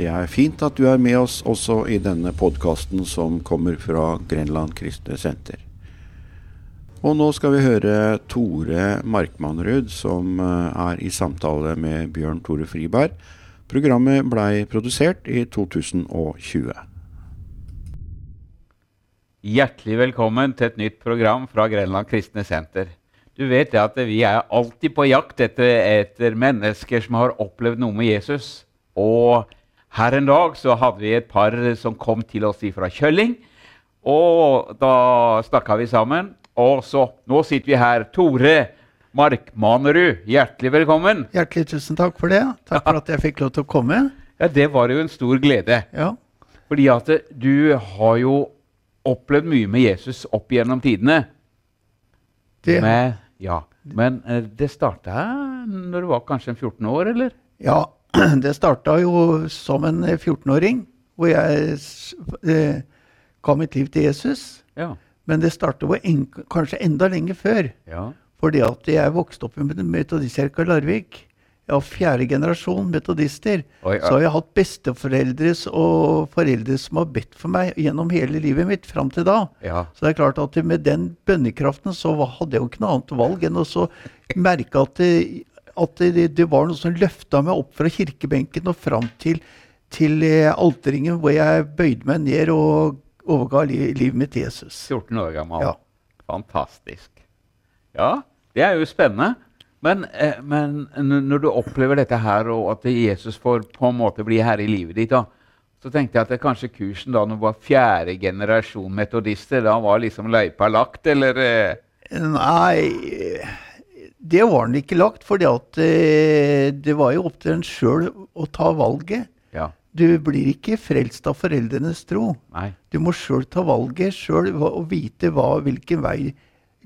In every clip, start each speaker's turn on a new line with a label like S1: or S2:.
S1: Det er fint at du er med oss også i denne podkasten som kommer fra Grenland kristne senter. Og nå skal vi høre Tore Markmannrud, som eh, er i samtale med Bjørn Tore Friberg. Programmet blei produsert i 2020.
S2: Hjertelig velkommen til et nytt program fra Grenland kristne senter. Du vet det at vi er alltid på jakt etter, etter mennesker som har opplevd noe med Jesus. Og her en dag så hadde vi et par som kom til oss fra Kjølling. Og da snakka vi sammen. Og så Nå sitter vi her. Tore Markmanerud, hjertelig velkommen.
S3: Hjertelig tusen takk for det. Takk for at jeg fikk lov til å komme.
S2: Ja, Det var jo en stor glede.
S3: Ja.
S2: Fordi at du har jo opplevd mye med Jesus opp gjennom tidene.
S3: Det-
S2: Men, ja. Men eh, det starta når du var kanskje en 14 år, eller?
S3: Ja, det starta jo som en 14-åring, hvor jeg s- eh, ga mitt liv til Jesus.
S2: Ja.
S3: Men det starta jo en, kanskje enda lenger før.
S2: ja.
S3: Fordi at jeg vokste opp i en metodistkirka i Larvik. Jeg var fjerde generasjon metodister.
S2: Oi, ja.
S3: Så har jeg hatt besteforeldres og foreldre som har bedt for meg gjennom hele livet mitt fram til da.
S2: Ja.
S3: Så det er klart at med den bønnekraften så var- hadde jeg jo ikke noe annet valg enn å så merke at det, at det, det var noe som løfta meg opp fra kirkebenken og fram til, til eh, alteringen, hvor jeg bøyde meg ned og overga li, livet mitt til Jesus.
S2: 14 år gammel.
S3: Ja.
S2: Fantastisk. Ja, det er jo spennende. Men, eh, men n- når du opplever dette her, og at Jesus får på en måte bli herre i livet ditt, da, så tenkte jeg at det kanskje kursen da når du var fjerde generasjon metodister, da var liksom løypa lagt, eller eh,
S3: Nei, det var den ikke lagt, for det var jo opp til en sjøl å ta valget.
S2: Ja.
S3: Du blir ikke frelst av foreldrenes tro.
S2: Nei.
S3: Du må sjøl ta valget, sjøl og vite hva, hvilken vei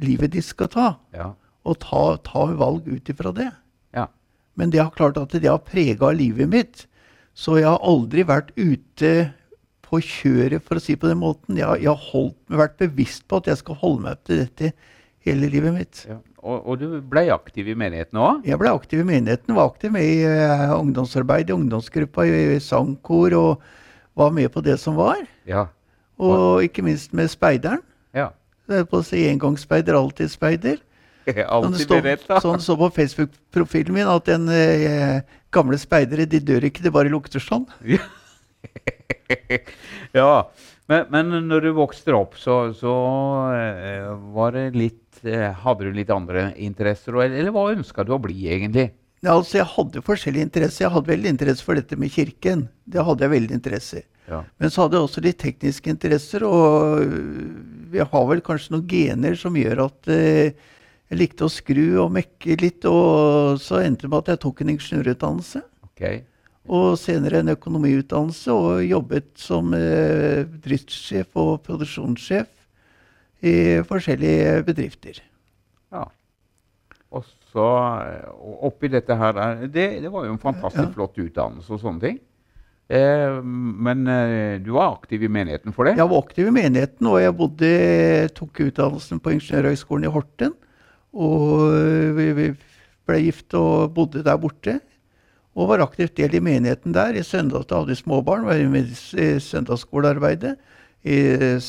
S3: livet ditt skal ta.
S2: Ja.
S3: Og ta, ta valg ut ifra det.
S2: Ja.
S3: Men det har klart at det har prega livet mitt. Så jeg har aldri vært ute på kjøret, for å si det på den måten. Jeg, har- jeg har holdt, vært bevisst på at jeg skal holde meg til dette hele livet mitt.
S2: ja. Og, og du ble aktiv i menigheten òg?
S3: Jeg ble aktiv i menigheten, var aktiv med i eh, ungdomsarbeid, i ungdomsgruppa, i, i sangkor, og var med på det som var.
S2: Ja.
S3: Og ikke minst med speideren.
S2: ja.
S3: Det er på å si engangsspeider, alltidsspeider. Sånn det
S2: Alltid
S3: står
S2: beredt, da.
S3: sånn det står på Facebook-profilen min, at den eh, gamle speidere, de dør ikke, det bare lukter sånn.
S2: ja. Men, men når du vokste opp, så, så eh, var det litt eh, Hadde du litt andre interesser, og- eller hva ønska du å bli egentlig?
S3: Ja, altså, jeg hadde forskjellige interesser. Jeg hadde veldig interesse for dette med kirken. Det hadde jeg veldig interesse.
S2: Ja.
S3: Men så hadde jeg også litt tekniske interesser, og øh, jeg har vel kanskje noen gener som gjør at eh, jeg likte å skru og mekke litt, og så endte det med at jeg tok en ingeniørutdannelse.
S2: Ok.
S3: Og senere en økonomiutdannelse, og jobbet som eh, driftssjef og produksjonssjef i forskjellige bedrifter.
S2: Ja. Og så eh, og oppi dette her er- det, det var jo en fantastisk flott utdannelse og sånne ting. Eh, men eh, du var aktiv i menigheten for det?
S3: Jeg var aktiv i menigheten, og jeg bodde, tok utdannelsen på Ingeniørhøgskolen i Horten. Og øh, vi, vi ble gift og bodde der borte. Og var aktivt del i menigheten der. I søndag da hadde vi småbarn, var med i søndagsskolearbeidet, i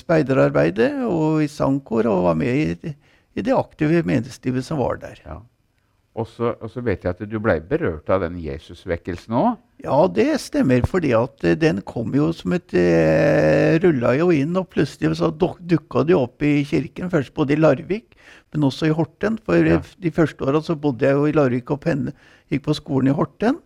S3: speiderarbeidet og i sangkor, og var med i, i det aktive menighetslivet som var der.
S2: Ja. Og så, og så vet jeg at du ble berørt av den Jesusvekkelsen òg.
S3: Ja, det stemmer, fordi at eh, den kom jo som et eh, Rulla jo inn, og plutselig så duk- dukka det jo opp i kirken. Først både i Larvik, men også i Horten. For eh,
S2: Ja.
S3: f- de første åra så bodde jeg jo i Larvik og penne, gikk på skolen i Horten.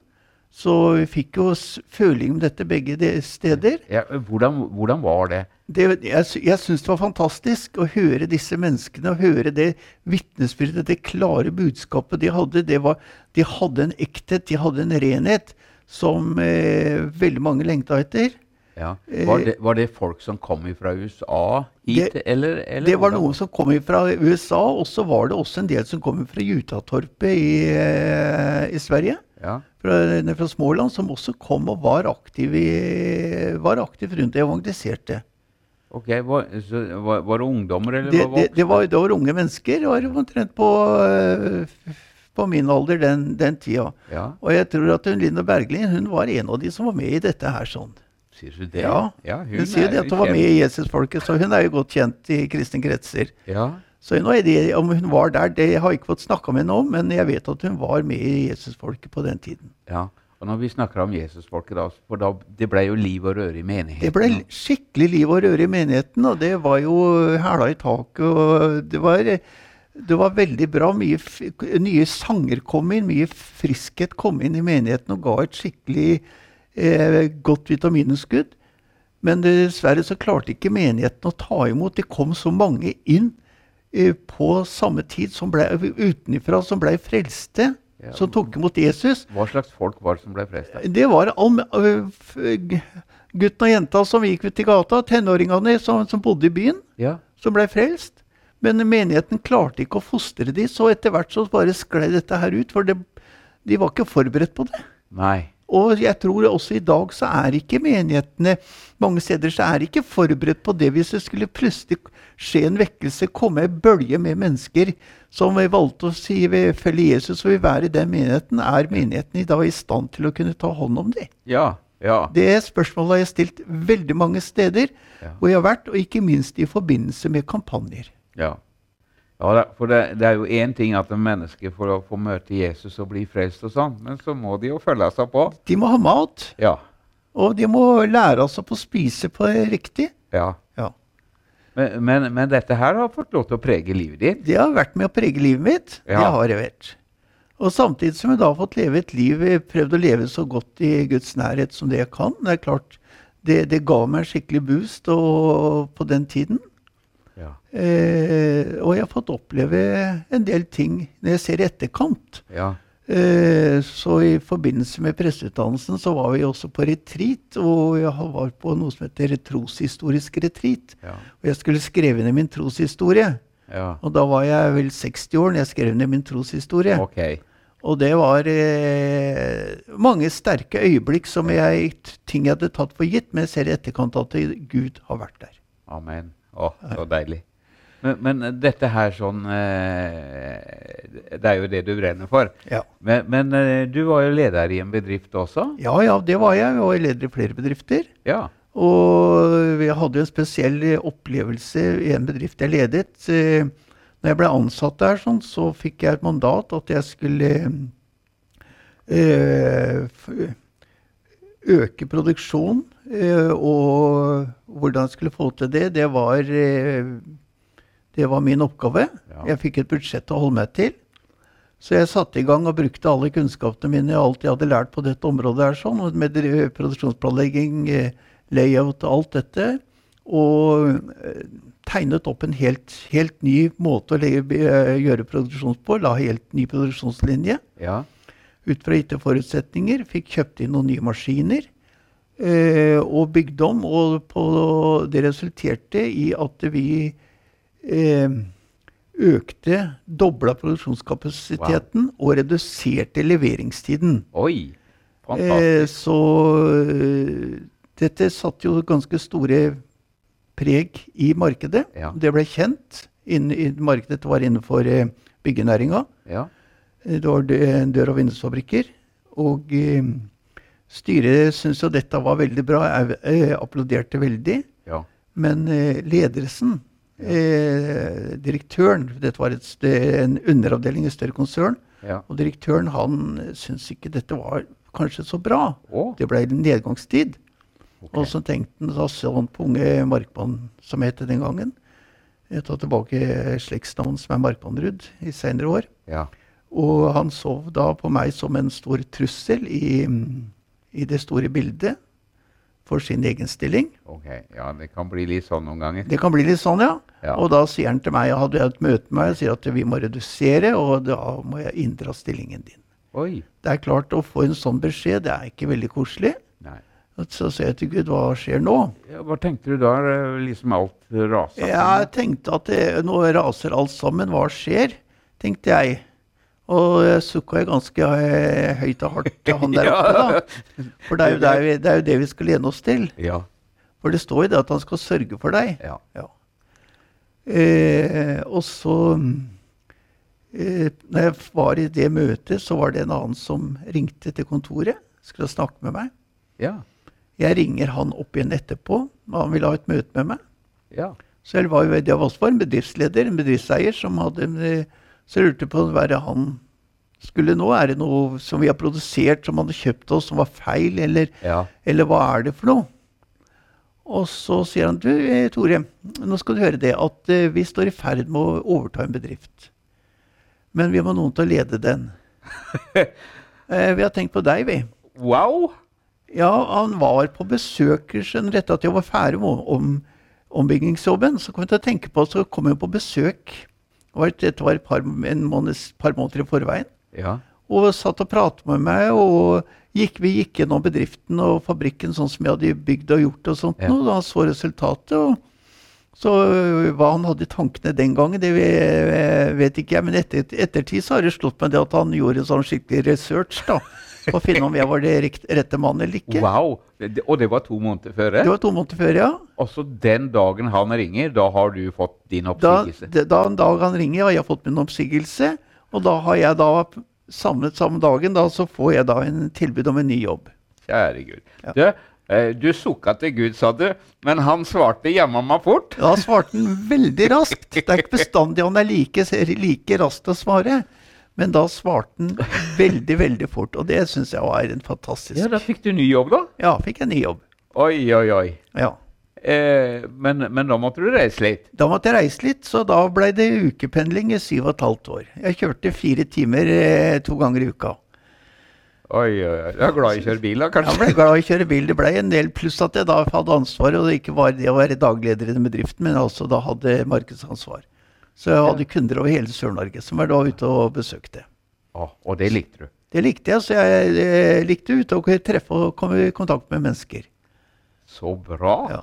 S3: Så vi fikk jo s- føling om dette begge de steder.
S2: Ja, hvordan, hvordan var det?
S3: Det, jeg sy- jeg syns det var fantastisk å høre disse menneskene og høre det vitnesbyrdet, det klare budskapet de hadde. Det var, de hadde en ekthet, de hadde en renhet som eh, veldig mange lengta etter.
S2: Ja. Var, det, var det folk som kom fra USA hit,
S3: det-
S2: eller, eller
S3: Det var
S2: hvordan?
S3: noen som kom fra USA, og så var det også en del som kom fra Jutatorpet i, eh, i Sverige.
S2: Ja,
S3: Fra, nede fra Småland, som også kom og var aktiv, i, var aktiv rundt det og evangeliserte.
S2: ok. Var, så, var, var det ungdommer, eller
S3: det,
S2: var
S3: det, det, var, det var unge mennesker, det var omtrent på, eh, f- på min alder den, den tida.
S2: Ja,
S3: Og jeg tror at hun, Linda Berglin hun var en av de som var med i dette her. sånn.
S2: sier du det?
S3: Ja,
S2: hun,
S3: Hun, sier jo det
S2: er
S3: at hun var
S2: kjent.
S3: med i Jesusfolket, så hun er jo godt kjent i kristne kretser.
S2: Ja,
S3: Så nå er det, Om hun var der, det har jeg ikke fått snakka med henne om, men jeg vet at hun var med i Jesusfolket på den tiden.
S2: ja. Og når vi snakker om Jesusfolket, da, for da, det ble jo liv og røre i menigheten.
S3: Det ble skikkelig liv og røre i menigheten, og det var jo hæla i taket. og det var, det var veldig bra. Mye f nye sanger kom inn, mye friskhet kom inn i menigheten og ga et skikkelig eh, godt vitamininnskudd. Men dessverre så klarte ikke menigheten å ta imot. Det kom så mange inn eh, på samme tid som ble, utenifra som ble frelste,
S2: Ja.
S3: som tok imot Jesus.
S2: Hva slags folk var det som ble fresta?
S3: Det var om, ø, f- g- gutten og jenta som gikk ut i gata, tenåringene som, som bodde i byen,
S2: Ja.
S3: som ble frelst. Men menigheten klarte ikke å fostre de, så etter hvert så bare sklei dette her ut. For det, de var ikke forberedt på det.
S2: Nei.
S3: Og jeg tror også i dag så er ikke menighetene mange steder så er ikke forberedt på det hvis det skulle plutselig skje en vekkelse, komme en bølge med mennesker som valgte å si vi følger Jesus og vil være i den menigheten. Er menigheten i dag i stand til å kunne ta hånd om det?
S2: Ja. Ja.
S3: Det spørsmålet har jeg stilt veldig mange steder
S2: Ja.
S3: hvor jeg har vært, og ikke minst i forbindelse med kampanjer.
S2: Ja. ja da, for det, det er jo én ting at en menneske får, å- får møte Jesus og bli frelst og sånn, men så må de jo følge seg på.
S3: De må ha mat,
S2: Ja.
S3: og de må lære oss å spise på riktig.
S2: ja.
S3: Ja.
S2: Men, men, men dette her har fått lov til å prege livet ditt.
S3: Det har vært med å prege livet mitt. Det
S2: Ja.
S3: har jeg vært. Og samtidig som jeg da har fått leve et liv, eh, prøvd å leve så godt i Guds nærhet som det jeg kan. Det er klart, det, det ga meg en skikkelig boost og, på den tiden.
S2: Ja.
S3: Eh, og jeg har fått oppleve en del ting når jeg ser i etterkant.
S2: Ja.
S3: Eh, så i forbindelse med presseutdannelsen så var vi også på retreat, og jeg har- var på noe som heter troshistorisk retreat.
S2: Ja.
S3: Og jeg skulle skrive ned min troshistorie.
S2: ja.
S3: Og da var jeg vel 60 år når jeg skrev ned min troshistorie.
S2: Ok.
S3: Og det var eh, mange sterke øyeblikk som jeg, ting jeg hadde tatt for gitt, men jeg ser i etterkant at Gud har vært der.
S2: Amen. Å, så deilig. Men, men dette her sånn eh, Det er jo det du brenner for.
S3: Ja.
S2: Men, men eh, du var jo leder i en bedrift også?
S3: ja, ja, det var jeg. Jeg var leder i flere bedrifter.
S2: Ja.
S3: Og jeg hadde jo en spesiell eh, opplevelse i en bedrift jeg ledet. Eh, Når jeg ble ansatt der, sånn, så fikk jeg et mandat at jeg skulle eh, f- øke produksjonen. eh, Og hvordan jeg skulle få til det, det var, eh, det var min oppgave.
S2: Ja.
S3: Jeg fikk et budsjett å holde meg til. Så jeg satte i gang og brukte alle kunnskapene mine og alt jeg hadde lært på dette området, her, sånn, og med dri- produksjonsplanlegging, eh, layout og alt dette. Og eh, tegnet opp en helt, helt ny måte å legge, eh, gjøre produksjon på. La helt ny produksjonslinje
S2: Ja.
S3: ut fra gitte forutsetninger. Fikk kjøpt inn noen nye maskiner eh, og bygd om. Og på, det resulterte i at vi eh, økte, dobla produksjonskapasiteten og reduserte leveringstiden.
S2: Oi. Fantastisk.
S3: Eh, så eh, dette satte jo ganske store preg i markedet.
S2: Ja.
S3: Det ble kjent. Innen, i markedet dette var innenfor eh, byggenæringa.
S2: Ja.
S3: Eh, Det var dø- dør- og vindusfabrikker. Og eh, styret syntes jo dette var veldig bra, au- eh, applauderte veldig.
S2: Ja.
S3: Men eh, ledelsen, eh, direktøren Dette var et, st- en underavdeling i et større konsern.
S2: Ja.
S3: Og direktøren han syntes ikke dette var kanskje så bra.
S2: Å.
S3: Det ble en nedgangstid.
S2: Ok.
S3: Og så tenkte han, da så han på unge Markmann, som het det den gangen. Jeg tar tilbake slektsnavn som er Markmannrud i seinere år.
S2: Ja.
S3: Og han så da på meg som en stor trussel i, i det store bildet for sin egen stilling.
S2: Ok. Ja, det kan bli litt sånn noen ganger.
S3: Det kan bli litt sånn, ja.
S2: Ja.
S3: Og da sier han til meg, jeg hadde et møte med meg, og sier at vi må redusere, og da må jeg inndra stillingen din.
S2: Oi.
S3: Det er klart, å få en sånn beskjed, det er ikke veldig koselig.
S2: Nei.
S3: Og Så sier jeg til Gud, hva skjer nå?
S2: Ja, hva tenkte du da? eh, Liksom alt rasa?
S3: Jeg tenkte at det, nå raser alt sammen, hva skjer? Tenkte jeg. Og jeg sukka jeg ganske eh, høyt og hardt til han der oppe, da. For det er, jo, det, er, jo- det er jo det vi skal lene oss til.
S2: Ja.
S3: For det står jo det at han skal sørge for deg.
S2: Ja.
S3: Ja. Eh, og så mm, eh, når jeg var i det møtet, så var det en annen som ringte til kontoret. Skulle snakke med meg.
S2: Ja.
S3: Jeg ringer han opp igjen etterpå. Han ville ha et møte med meg.
S2: ja.
S3: Så jeg var jo det var også en bedriftsleder, en bedriftseier, som hadde en- Så jeg lurte på hva det han skulle nå. Er det noe som vi har produsert, som han har kjøpt oss, som var feil, eller,
S2: Ja.
S3: eller hva er det for noe? Og så sier han du, eh, Tore, nå skal du høre det at eh, vi står i ferd med å overta en bedrift. Men vi må ha noen til å lede den. eh, vi har tenkt på deg, vi.
S2: Wow!
S3: Ja, han var på besøk skjønner du, etter at jeg var ferdig med om, ombyggingsjobben. Så kom jeg til å tenke på, så kom jeg på besøk. Det var et- Dette var et par, en måneds, par måneder i forveien.
S2: Ja.
S3: Og satt og pratet med meg, og gikk, vi gikk gjennom bedriften og fabrikken sånn som jeg hadde bygd og gjort og sånt.
S2: Ja.
S3: noe, Og han så resultatet. og så øh, Hva han hadde i tankene den gangen, det ve- øh, vet ikke jeg. Men etter, ettertid så har det slått meg det at han gjorde en sånn skikkelig research da, for å finne om jeg var det rikt, rette mannen eller ikke.
S2: Wow! Det- det- Og det var to måneder før det?
S3: Det var to måneder før, ja.
S2: Og så den dagen han ringer, da har du fått din
S3: Da,
S2: oppsigelse?
S3: da da en dag han ringer, har jeg fått min oppsigelse. Og da har jeg da samlet samme dagen, da så får jeg da en tilbud om en ny jobb.
S2: Kjære Gud.
S3: Ja.
S2: Du, eh, du sukka til Gud, sa du, men han svarte jammen meg fort.
S3: Da svarte han veldig raskt. Det er ikke bestandig han er like, like rask til å svare. Men da svarte han veldig, veldig fort. Og det syns jeg var en fantastisk
S2: Ja, da fikk du ny jobb, da.
S3: Ja, fikk jeg ny jobb.
S2: Oi, oi, oi.
S3: Ja.
S2: Eh, men, men da måtte du reise litt.
S3: Da måtte jeg reise litt, så da blei det ukependling i syv og et halvt år. Jeg kjørte fire timer eh, to ganger i uka.
S2: Oi, oi, oi. Du er glad i å kjøre bil, da,
S3: Jeg ble
S2: kanskje?
S3: glad i å kjøre bil. Det ble en del pluss at jeg da hadde ansvaret, og det ikke var det å være dagleder i den bedriften, men også da hadde markedsansvar. Så jeg hadde kunder over hele Sør-Norge som jeg da var ute og besøkte.
S2: Å, og det likte du.
S3: Det likte jeg, så jeg eh, likte ute og treffe og komme i kontakt med mennesker.
S2: Så bra.
S3: Ja.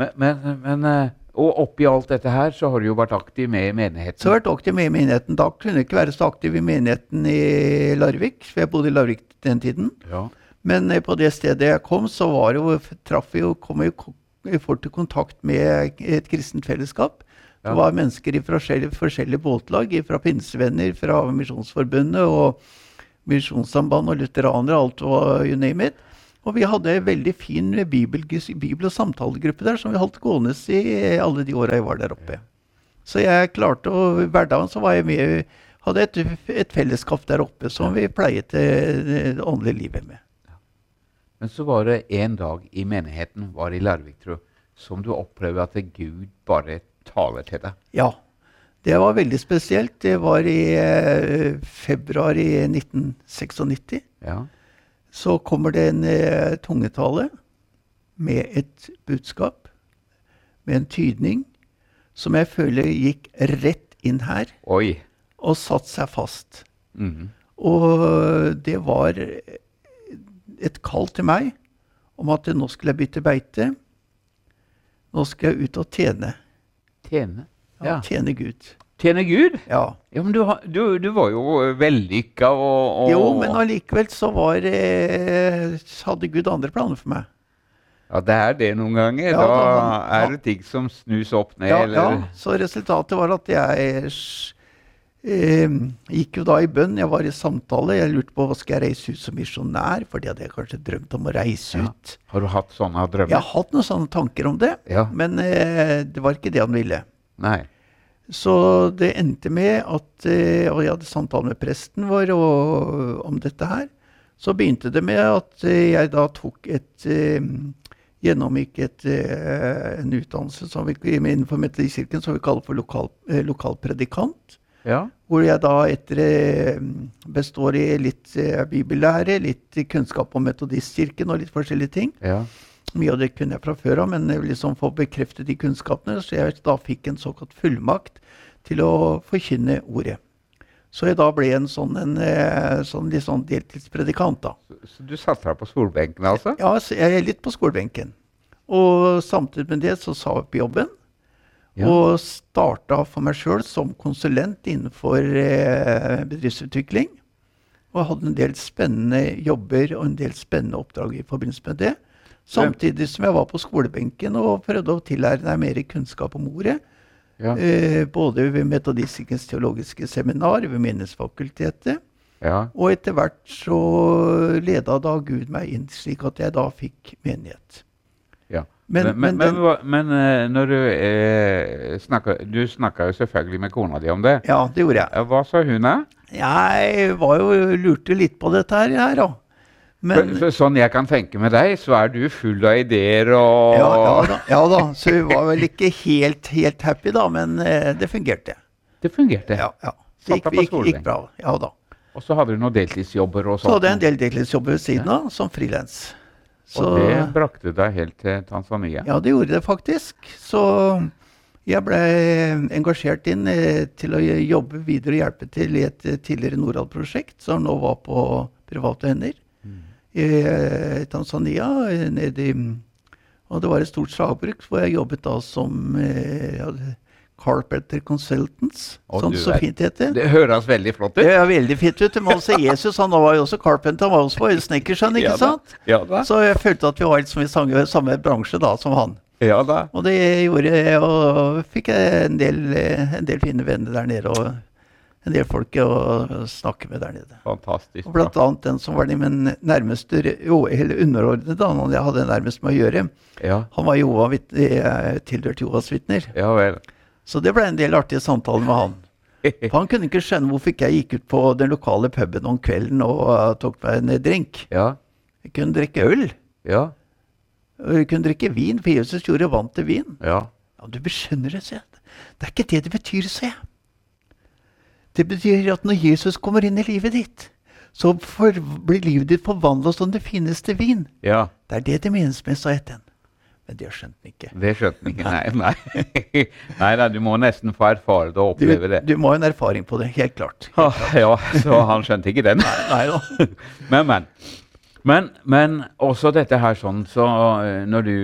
S2: Men, men, men eh, Og oppi alt dette her, så har du jo vært aktiv med i menigheten.
S3: Så jeg har vært aktiv med i menigheten. Da kunne jeg ikke være så aktiv i menigheten i Larvik, for jeg bodde i Larvik den tiden.
S2: Ja.
S3: Men eh, på det stedet jeg kom, så var jo, traff vi jo, kom vi jo ko- i fort i kontakt med et kristent fellesskap.
S2: Ja.
S3: Det var mennesker fra forskjellige, forskjellige båtlag, fra pinsevenner, fra Misjonsforbundet og Misjonssamband og lutheranere, alt hva you name it. Og vi hadde en veldig fin bibel, bibel- og samtalegruppe der som vi holdt gående i eh, alle de åra jeg var der oppe. Så jeg klarte å i Hverdagen så var jeg med Hadde et, et fellesskap der oppe som vi pleiet eh, det åndelige livet med.
S2: Men så var det en dag i menigheten, var i Larvik, tror jeg, som du opplever at Gud bare taler til deg.
S3: Ja. Det var veldig spesielt. Det var i eh, februar i 1996.
S2: Ja.
S3: Så kommer det en eh, tungetale med et budskap, med en tydning, som jeg føler gikk rett inn her
S2: Oi.
S3: og satte seg fast.
S2: Mhm.
S3: Og det var et kall til meg om at nå skulle jeg bytte beite. Nå skal jeg ut og tjene.
S2: Tjene. Ja.
S3: Ja. Tjene Gud.
S2: Tjene Gud?
S3: Ja.
S2: Ja, men du, har- du, du var jo eh, vellykka og, og
S3: Jo, men allikevel så var eh, hadde Gud andre planer for meg.
S2: Ja, det er det noen ganger.
S3: Ja,
S2: da
S3: da-
S2: er det ting som snus opp ned,
S3: Ja, ja,
S2: eller
S3: så resultatet var at jeg s- eh, gikk jo da i bønn. Jeg var i samtale. Jeg lurte på hva skal jeg reise ut som misjonær, for det hadde jeg kanskje drømt om å reise
S2: Ja.
S3: ut.
S2: Har du hatt sånne
S3: Jeg har
S2: drømmer?
S3: hatt noen sånne tanker om det,
S2: Ja.
S3: men eh, det var ikke det han ville.
S2: Nei.
S3: Så det endte med at eh, Og jeg hadde samtale med presten vår og, om dette her. Så begynte det med at eh, jeg da tok et eh, Gjennomgikk et, eh, en utdannelse som vi, innenfor Metodistkirken som vi kaller for lokal, eh, lokalpredikant.
S2: Ja.
S3: Hvor jeg da etter eh, består i litt eh, bibellære, litt kunnskap om Metodistkirken og litt forskjellige ting.
S2: ja.
S3: Mye av det kunne jeg fra før av, men jeg ville liksom få bekreftet de kunnskapene. Så jeg da fikk en såkalt fullmakt til å forkynne ordet. Så jeg da ble en sånn, en, eh, sånn, litt sånn deltidspredikant, da.
S2: Så, så du satte deg på solbenken, altså?
S3: Ja, så jeg er litt på skolebenken. Og samtidig med det så sa jeg opp jobben.
S2: Ja.
S3: Og starta for meg sjøl som konsulent innenfor eh, bedriftsutvikling. Og hadde en del spennende jobber og en del spennende oppdrag i forbindelse med det. Samtidig som jeg var på skolebenken og prøvde å tillære meg mer kunnskap om ordet.
S2: Ja.
S3: eh, både ved Metodistikkens teologiske seminar, ved Menighetsfakultetet.
S2: Ja.
S3: Og etter hvert så leda da Gud meg inn, slik at jeg da fikk menighet.
S2: Ja. Men,
S3: Men-
S2: men, men,
S3: men den-
S2: hva- men eh, når du eh, snakker Du snakka jo selvfølgelig med kona di om det.
S3: Ja, det gjorde jeg.
S2: Eh, Hva sa hun, da?
S3: Jeg var jo, lurte litt på dette her, her da. Men,
S2: For, for sånn jeg kan tenke med deg, så er du full av ideer og
S3: ja, ja, da, ja da, så vi var vel ikke helt, helt happy da, men eh, det fungerte.
S2: Det fungerte.
S3: Ja, ja.
S2: Satt
S3: Det
S2: deg
S3: gikk,
S2: på
S3: gikk,
S2: skolebenk.
S3: gikk bra. Ja da.
S2: Og så hadde du noen deltidsjobber og
S3: Så
S2: sånt.
S3: hadde jeg en del deltidsjobber ved siden av, som frilans.
S2: Og det brakte deg helt til Tanzania.
S3: Ja, det gjorde det faktisk. Så jeg ble engasjert inn eh, til å jobbe videre og hjelpe til i et eh, tidligere Norad-prosjekt, som nå var på private hender
S2: Mm.
S3: i eh, Tanzania. eh, Nede i, og det var et stort slagbruk, hvor jeg jobbet da som eh, ja, Carpenter Consultants,
S2: Å,
S3: som
S2: du
S3: så
S2: verden.
S3: fint heter.
S2: Det høres veldig flott
S3: Det
S2: ut.
S3: er veldig fint ut. Men også Jesus han var jo også carpenter, han var også på
S2: Ja
S3: snekkeren, ikke
S2: da,
S3: sant?
S2: ja da.
S3: Så jeg følte at vi var liksom i samme, samme bransje da som han.
S2: Ja da.
S3: Og det gjorde jeg, og fikk jeg en del, en del fine venner der nede, og en del folk å snakke med der nede.
S2: Fantastisk
S3: Og
S2: bra.
S3: blant annet den som var de min nærmeste, jo, eller underordnede, da, han jeg hadde nærmest med å gjøre,
S2: Ja,
S3: han var Jehova, vitt- eh, tilhørte Jehovas vitner.
S2: ja vel.
S3: Så det ble en del artige samtaler med han. For han kunne ikke skjønne hvorfor ikke jeg gikk ut på den lokale puben om kvelden og eh, tok meg en drink.
S2: Ja,
S3: Jeg kunne drikke øl,
S2: ja,
S3: og jeg kunne drikke vin, for Jesus gjorde vann til vin.
S2: ja.
S3: Ja, du skjønner det, sier jeg. Det er ikke det det betyr, sier jeg. Det betyr at når Jesus kommer inn i livet ditt, så for, blir livet ditt forvandla som det fineste vin.
S2: Ja,
S3: Det er det det menes med, sa Etten. Men det skjønte han ikke.
S2: det skjønte han ikke. Nei, nei. nei da, du må nesten få erfare det og
S3: Du,
S2: oppleve det.
S3: du må ha en erfaring på det, helt klart.
S2: Åh, ja, så han skjønte ikke den.
S3: Nei da.
S2: Men, men. Men, men også dette her sånn, så eh, når du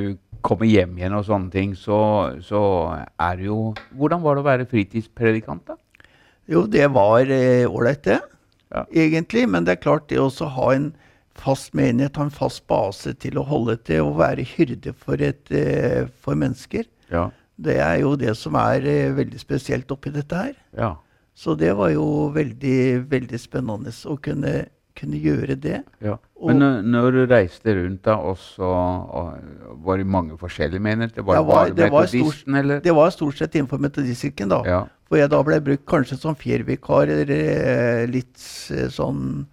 S2: kommer hjem igjen og sånne ting, så, så er det jo Hvordan var det å være fritidspredikant, da?
S3: Jo, det var eh, ålreit, det.
S2: Ja.
S3: Egentlig. Men det er klart, det å også ha en fast menighet, ha en fast base til å holde til, å være hyrde for, et, eh, for mennesker,
S2: Ja.
S3: det er jo det som er eh, veldig spesielt oppi dette her.
S2: ja.
S3: Så det var jo veldig, veldig spennende å kunne, kunne gjøre det.
S2: Men eh, når du reiste rundt da, og så og, eh, var det mange forskjellige menigheter? Var det
S3: Det var-
S2: bare
S3: det var stort-
S2: metodisten, eller?
S3: Det var stort sett innenfor metodistkirken, da.
S2: Ja.
S3: Hvor jeg da ble brukt kanskje som fjervikar, eh, litt eh, sånn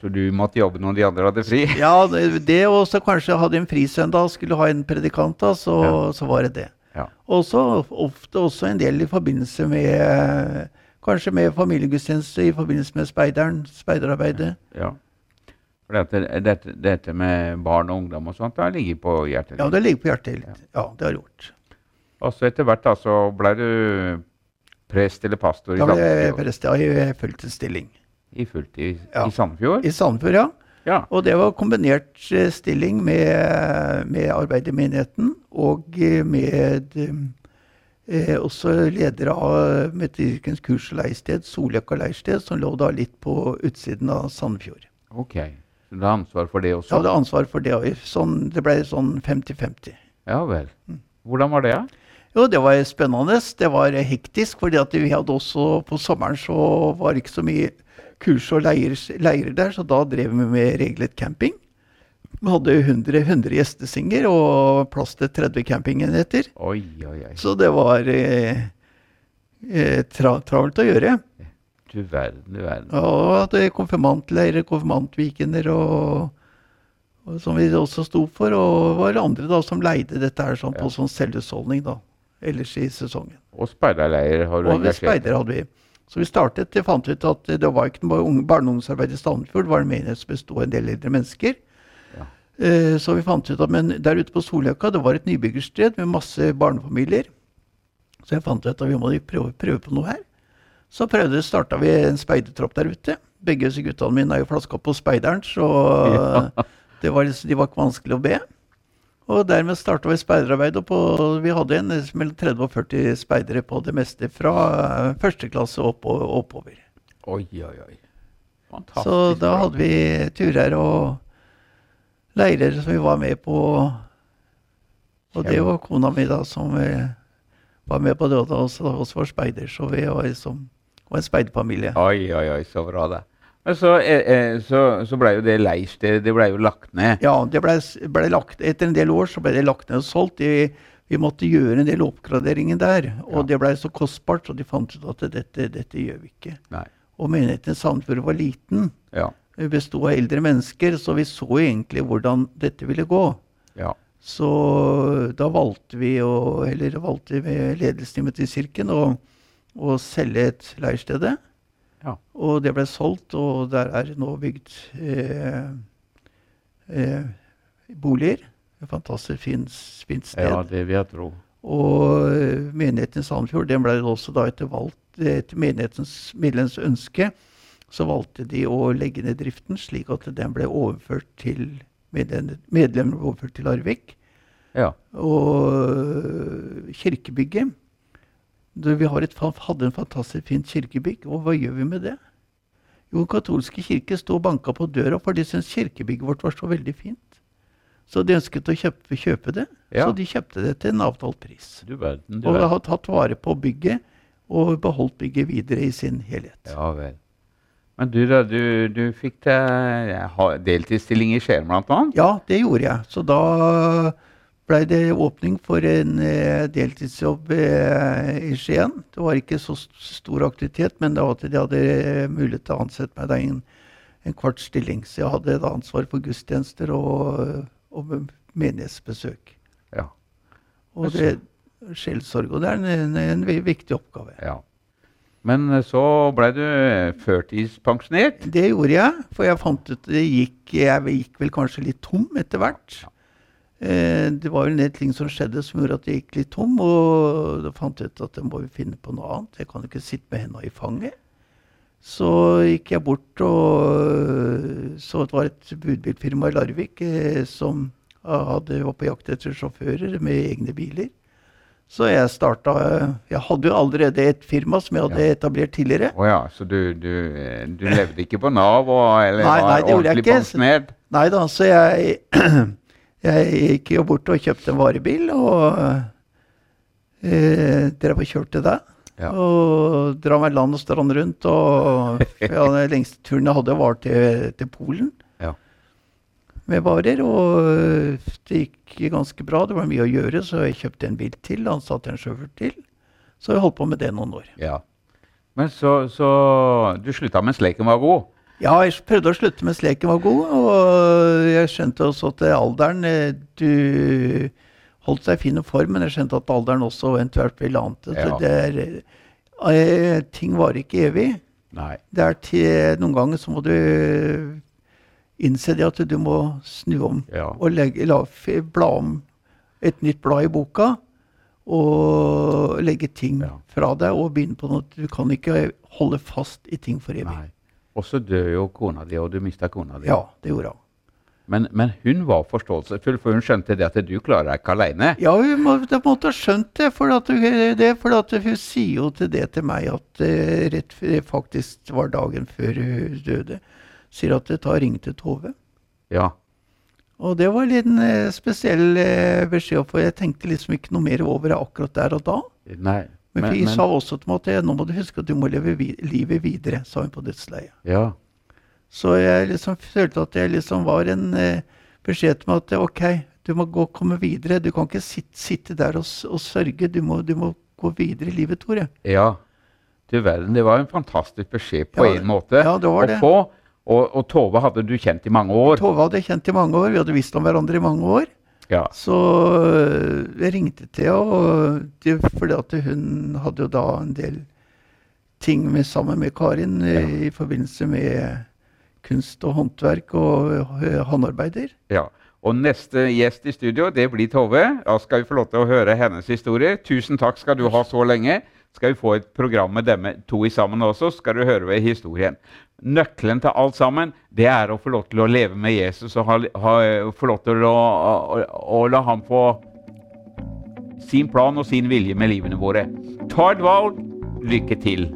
S2: Så du måtte jobbe når de andre hadde fri?
S3: Ja, det det, og så kanskje jeg hadde en frisøndag, skulle ha en predikant, da, så,
S2: Ja.
S3: så var det det.
S2: Ja.
S3: Og så ofte også en del i forbindelse med Kanskje med familiegudstjeneste i forbindelse med speideren, speiderarbeidet.
S2: ja. For dette, dette, dette med barn og ungdom og sånt, det ligger på hjertet
S3: Ja, det ligger på hjertet litt. Ja, det har gjort.
S2: Og så etter hvert da, så ble du prest eller pastor i
S3: Da ble jeg
S2: Sandefjord.
S3: prest ja, i fulltidsstilling.
S2: I fulltid
S3: Ja.
S2: i Sandefjord?
S3: I Sandefjord, ja.
S2: Ja.
S3: Og det var kombinert eh, stilling med, med arbeid i menigheten og eh, med eh, også leder av Metodistkens kurs og leirsted, Soljakka leirsted, som lå da litt på utsiden av Sandefjord.
S2: Ok. Så du har ansvar for det
S3: Jeg
S2: også?
S3: hadde ansvar for det. og Sånn, det ble sånn 50-50.
S2: Ja vel.
S3: Mm.
S2: Hvordan var det? da?
S3: Jo, det var spennende. Det var hektisk, fordi at vi hadde også på sommeren så var det ikke så mye kurs og leirer, leirer der, så da drev vi med reglet camping. Vi hadde 100, 100 gjestesinger og plass til 30 campingenheter.
S2: Oi, oi, oi.
S3: Så det var eh, eh, tra, travelt å gjøre.
S2: Du verden, du verden.
S3: Og hadde konfirmantleirer, konfirmantweekender og, og som vi også sto for. Og var andre da som leide dette her sånn,
S2: Ja.
S3: på sånn selvhusholdning da, ellers i sesongen.
S2: Og speiderleirer har du
S3: Og vi
S2: engasjert
S3: speidere hadde vi. Så vi startet, det fant vi ut at det var ikke noe unge- barne- og ungdomsarbeid i Sandefjord, det var en menighet som bestod av en del eldre mennesker.
S2: Ja.
S3: Eh, Så vi fant ut at, men der ute på Solløkka, det var et nybyggersted med masse barnefamilier. Så jeg fant ut at vi må jo prøve, prøve på noe her. Så prøvde, starta vi en speidertropp der ute. Begge disse guttene mine er jo flaska på speideren, så det var, liksom- de var ikke vanskelig å be. Og dermed starta vi speiderarbeid. Og på, vi hadde en eh, mellom 30 og 40 speidere på det meste fra eh, første klasse opp og oppover.
S2: Oi, oi, oi. Fantastisk.
S3: Så da
S2: bra.
S3: hadde vi turer og leirer som vi var med på. Og det var kona mi da som eh, var med på det, og oss, oss var speider, så vi var liksom var en speiderfamilie.
S2: Oi, oi, oi, så bra det. Men så, eh, eh, så, så blei jo det leirstedet det ble jo lagt ned.
S3: Ja, det ble, s- ble lagt, etter en del år så ble det lagt ned og solgt. Vi, vi måtte gjøre en del oppgraderinger der, og det blei så kostbart, så de fant ut at dette, dette gjør vi ikke.
S2: Nei.
S3: Og menigheten i Sandefjord var liten,
S2: Ja.
S3: bestod av eldre mennesker, så vi så egentlig hvordan dette ville gå.
S2: ja.
S3: Så da valgte vi, å, eller valgte vi ledelsen i Metodistkirken å, å selge et leirstedet.
S2: Ja.
S3: Og det ble solgt, og der er nå bygd eh, eh, boliger. Et fantastisk fint, fint sted.
S2: ja, det vil jeg tro.
S3: Og eh, menigheten i Sandefjord den ble også da etter, valgt, etter menighetens medlems ønske så valgte de å legge ned driften, slik at den ble overført til medlem, medlemmer ble overført til Larvik.
S2: Ja.
S3: Og øh, kirkebygget du, Vi har et, fa- hadde en fantastisk fint kirkebygg, og hva gjør vi med det? Jo, Den katolske kirke sto og banka på døra, for de syntes kirkebygget vårt var så veldig fint. Så de ønsket å kjøpe, kjøpe det,
S2: Ja.
S3: så de kjøpte det til en avtalt pris.
S2: Du verden, du
S3: Og
S2: verden.
S3: har tatt vare på bygget og beholdt bygget videre i sin helhet.
S2: Ja vel. Men du da, du, du fikk deg ha- deltidsstilling i Skien blant annet?
S3: Ja, det gjorde jeg. Så da blei det åpning for en eh, deltidsjobb eh, i Skien. Det var ikke så st- stor aktivitet, men det var at de hadde eh, mulighet til å ansette meg da i en, en kvart stilling. Så jeg hadde da ansvar for gudstjenester og, og menighetsbesøk.
S2: Ja.
S3: Og det sjelsorg. Og det er en, en vi- viktig oppgave.
S2: ja. Men eh, så ble du eh, førtidspensjonert?
S3: Det gjorde jeg, for jeg fant ut det gikk, jeg gikk vel kanskje litt tom etter hvert. Eh, Det var vel en del ting som skjedde som gjorde at jeg gikk litt tom, og da fant jeg ut at jeg må jo finne på noe annet. Jeg kan jo ikke sitte med henda i fanget. Så gikk jeg bort og så det var et budbilfirma i Larvik eh, som hadde, var på jakt etter sjåfører med egne biler. Så jeg starta Jeg hadde jo allerede et firma som jeg hadde etablert tidligere.
S2: Å ja, så du, du, eh, du levde ikke på Nav og, eller
S3: Nei, nei,
S2: var
S3: det gjorde jeg
S2: ordentlig
S3: ikke.
S2: pensjonert?
S3: Nei da, så jeg, jeg gikk jo bort og kjøpte en varebil, og eh, drev og kjørte det.
S2: Ja.
S3: Og dra meg land og strand rundt. Og ja, den lengste turen jeg hadde, var til, til Polen
S2: Ja.
S3: med varer. Og eh, det gikk ganske bra. Det var mye å gjøre, så jeg kjøpte en bil til. Ansatte en sjåfør til. Så jeg holdt på med det noen år.
S2: ja. Men så, så Du slutta mens leken var god?
S3: Ja, jeg prøvde å slutte mens leken var god, og jeg skjønte også at alderen eh, Du holdt deg i fin form, men jeg skjønte at alderen også eventuelt ble lantet.
S2: Ja.
S3: Det er, eh, ting varer ikke evig.
S2: Nei.
S3: Det er til, noen ganger så må du eh, innse det at du må snu om
S2: Ja.
S3: og legge, la, f- bla om et nytt blad i boka. Og legge ting
S2: Ja.
S3: fra deg og begynne på noe. Du kan ikke holde fast i ting for evig.
S2: nei. Og så døde jo kona di, og du mista kona di.
S3: Ja, det gjorde hun.
S2: Men, men hun var forståelsesfull, for hun skjønte det at du klarer deg ikke aleine.
S3: Ja, hun må, de måtte ha skjønt det, for, at, hun- det, for at hun sier jo til det til meg at eh, rett f- faktisk var dagen før hun døde. Sier at eh, ta ring til Tove.
S2: Ja.
S3: Og det var litt en eh, spesiell eh, beskjed, for jeg tenkte liksom ikke noe mer over det akkurat der og da.
S2: Nei.
S3: Men, vi sa også til meg at eh, nå må du huske at du må leve vi livet videre, sa hun på dødsleiet.
S2: ja.
S3: Så jeg liksom følte at jeg liksom var en eh, beskjed til meg at OK, du må gå komme videre. Du kan ikke sitte, sitte der og, s- og sørge. Du må, du må gå videre i livet, Tore.
S2: Ja. Du verden, det var en fantastisk beskjed på
S3: Ja,
S2: en måte
S3: ja, det var
S2: å
S3: det.
S2: få. Og, og Tove hadde du kjent i mange år.
S3: Tove hadde jeg kjent i mange år. Vi hadde visst om hverandre i mange år.
S2: Ja.
S3: Så øh, jeg ringte til henne, og det- fordi at hun hadde jo da en del ting med, sammen med Karin øh, i forbindelse med kunst og håndverk og øh, håndarbeider.
S2: ja. Og neste gjest i studio, det blir Tove. Da skal vi få lov til å høre hennes historie. Tusen takk skal du ha så lenge. Skal vi få et program med dem to i sammen også, skal du høre ved historien. Nøkkelen til alt sammen, det er å få lov til å leve med Jesus og ha, ha, få lov til å, å, å la ham få sin plan og sin vilje med livene våre. Ta et valg. Lykke til.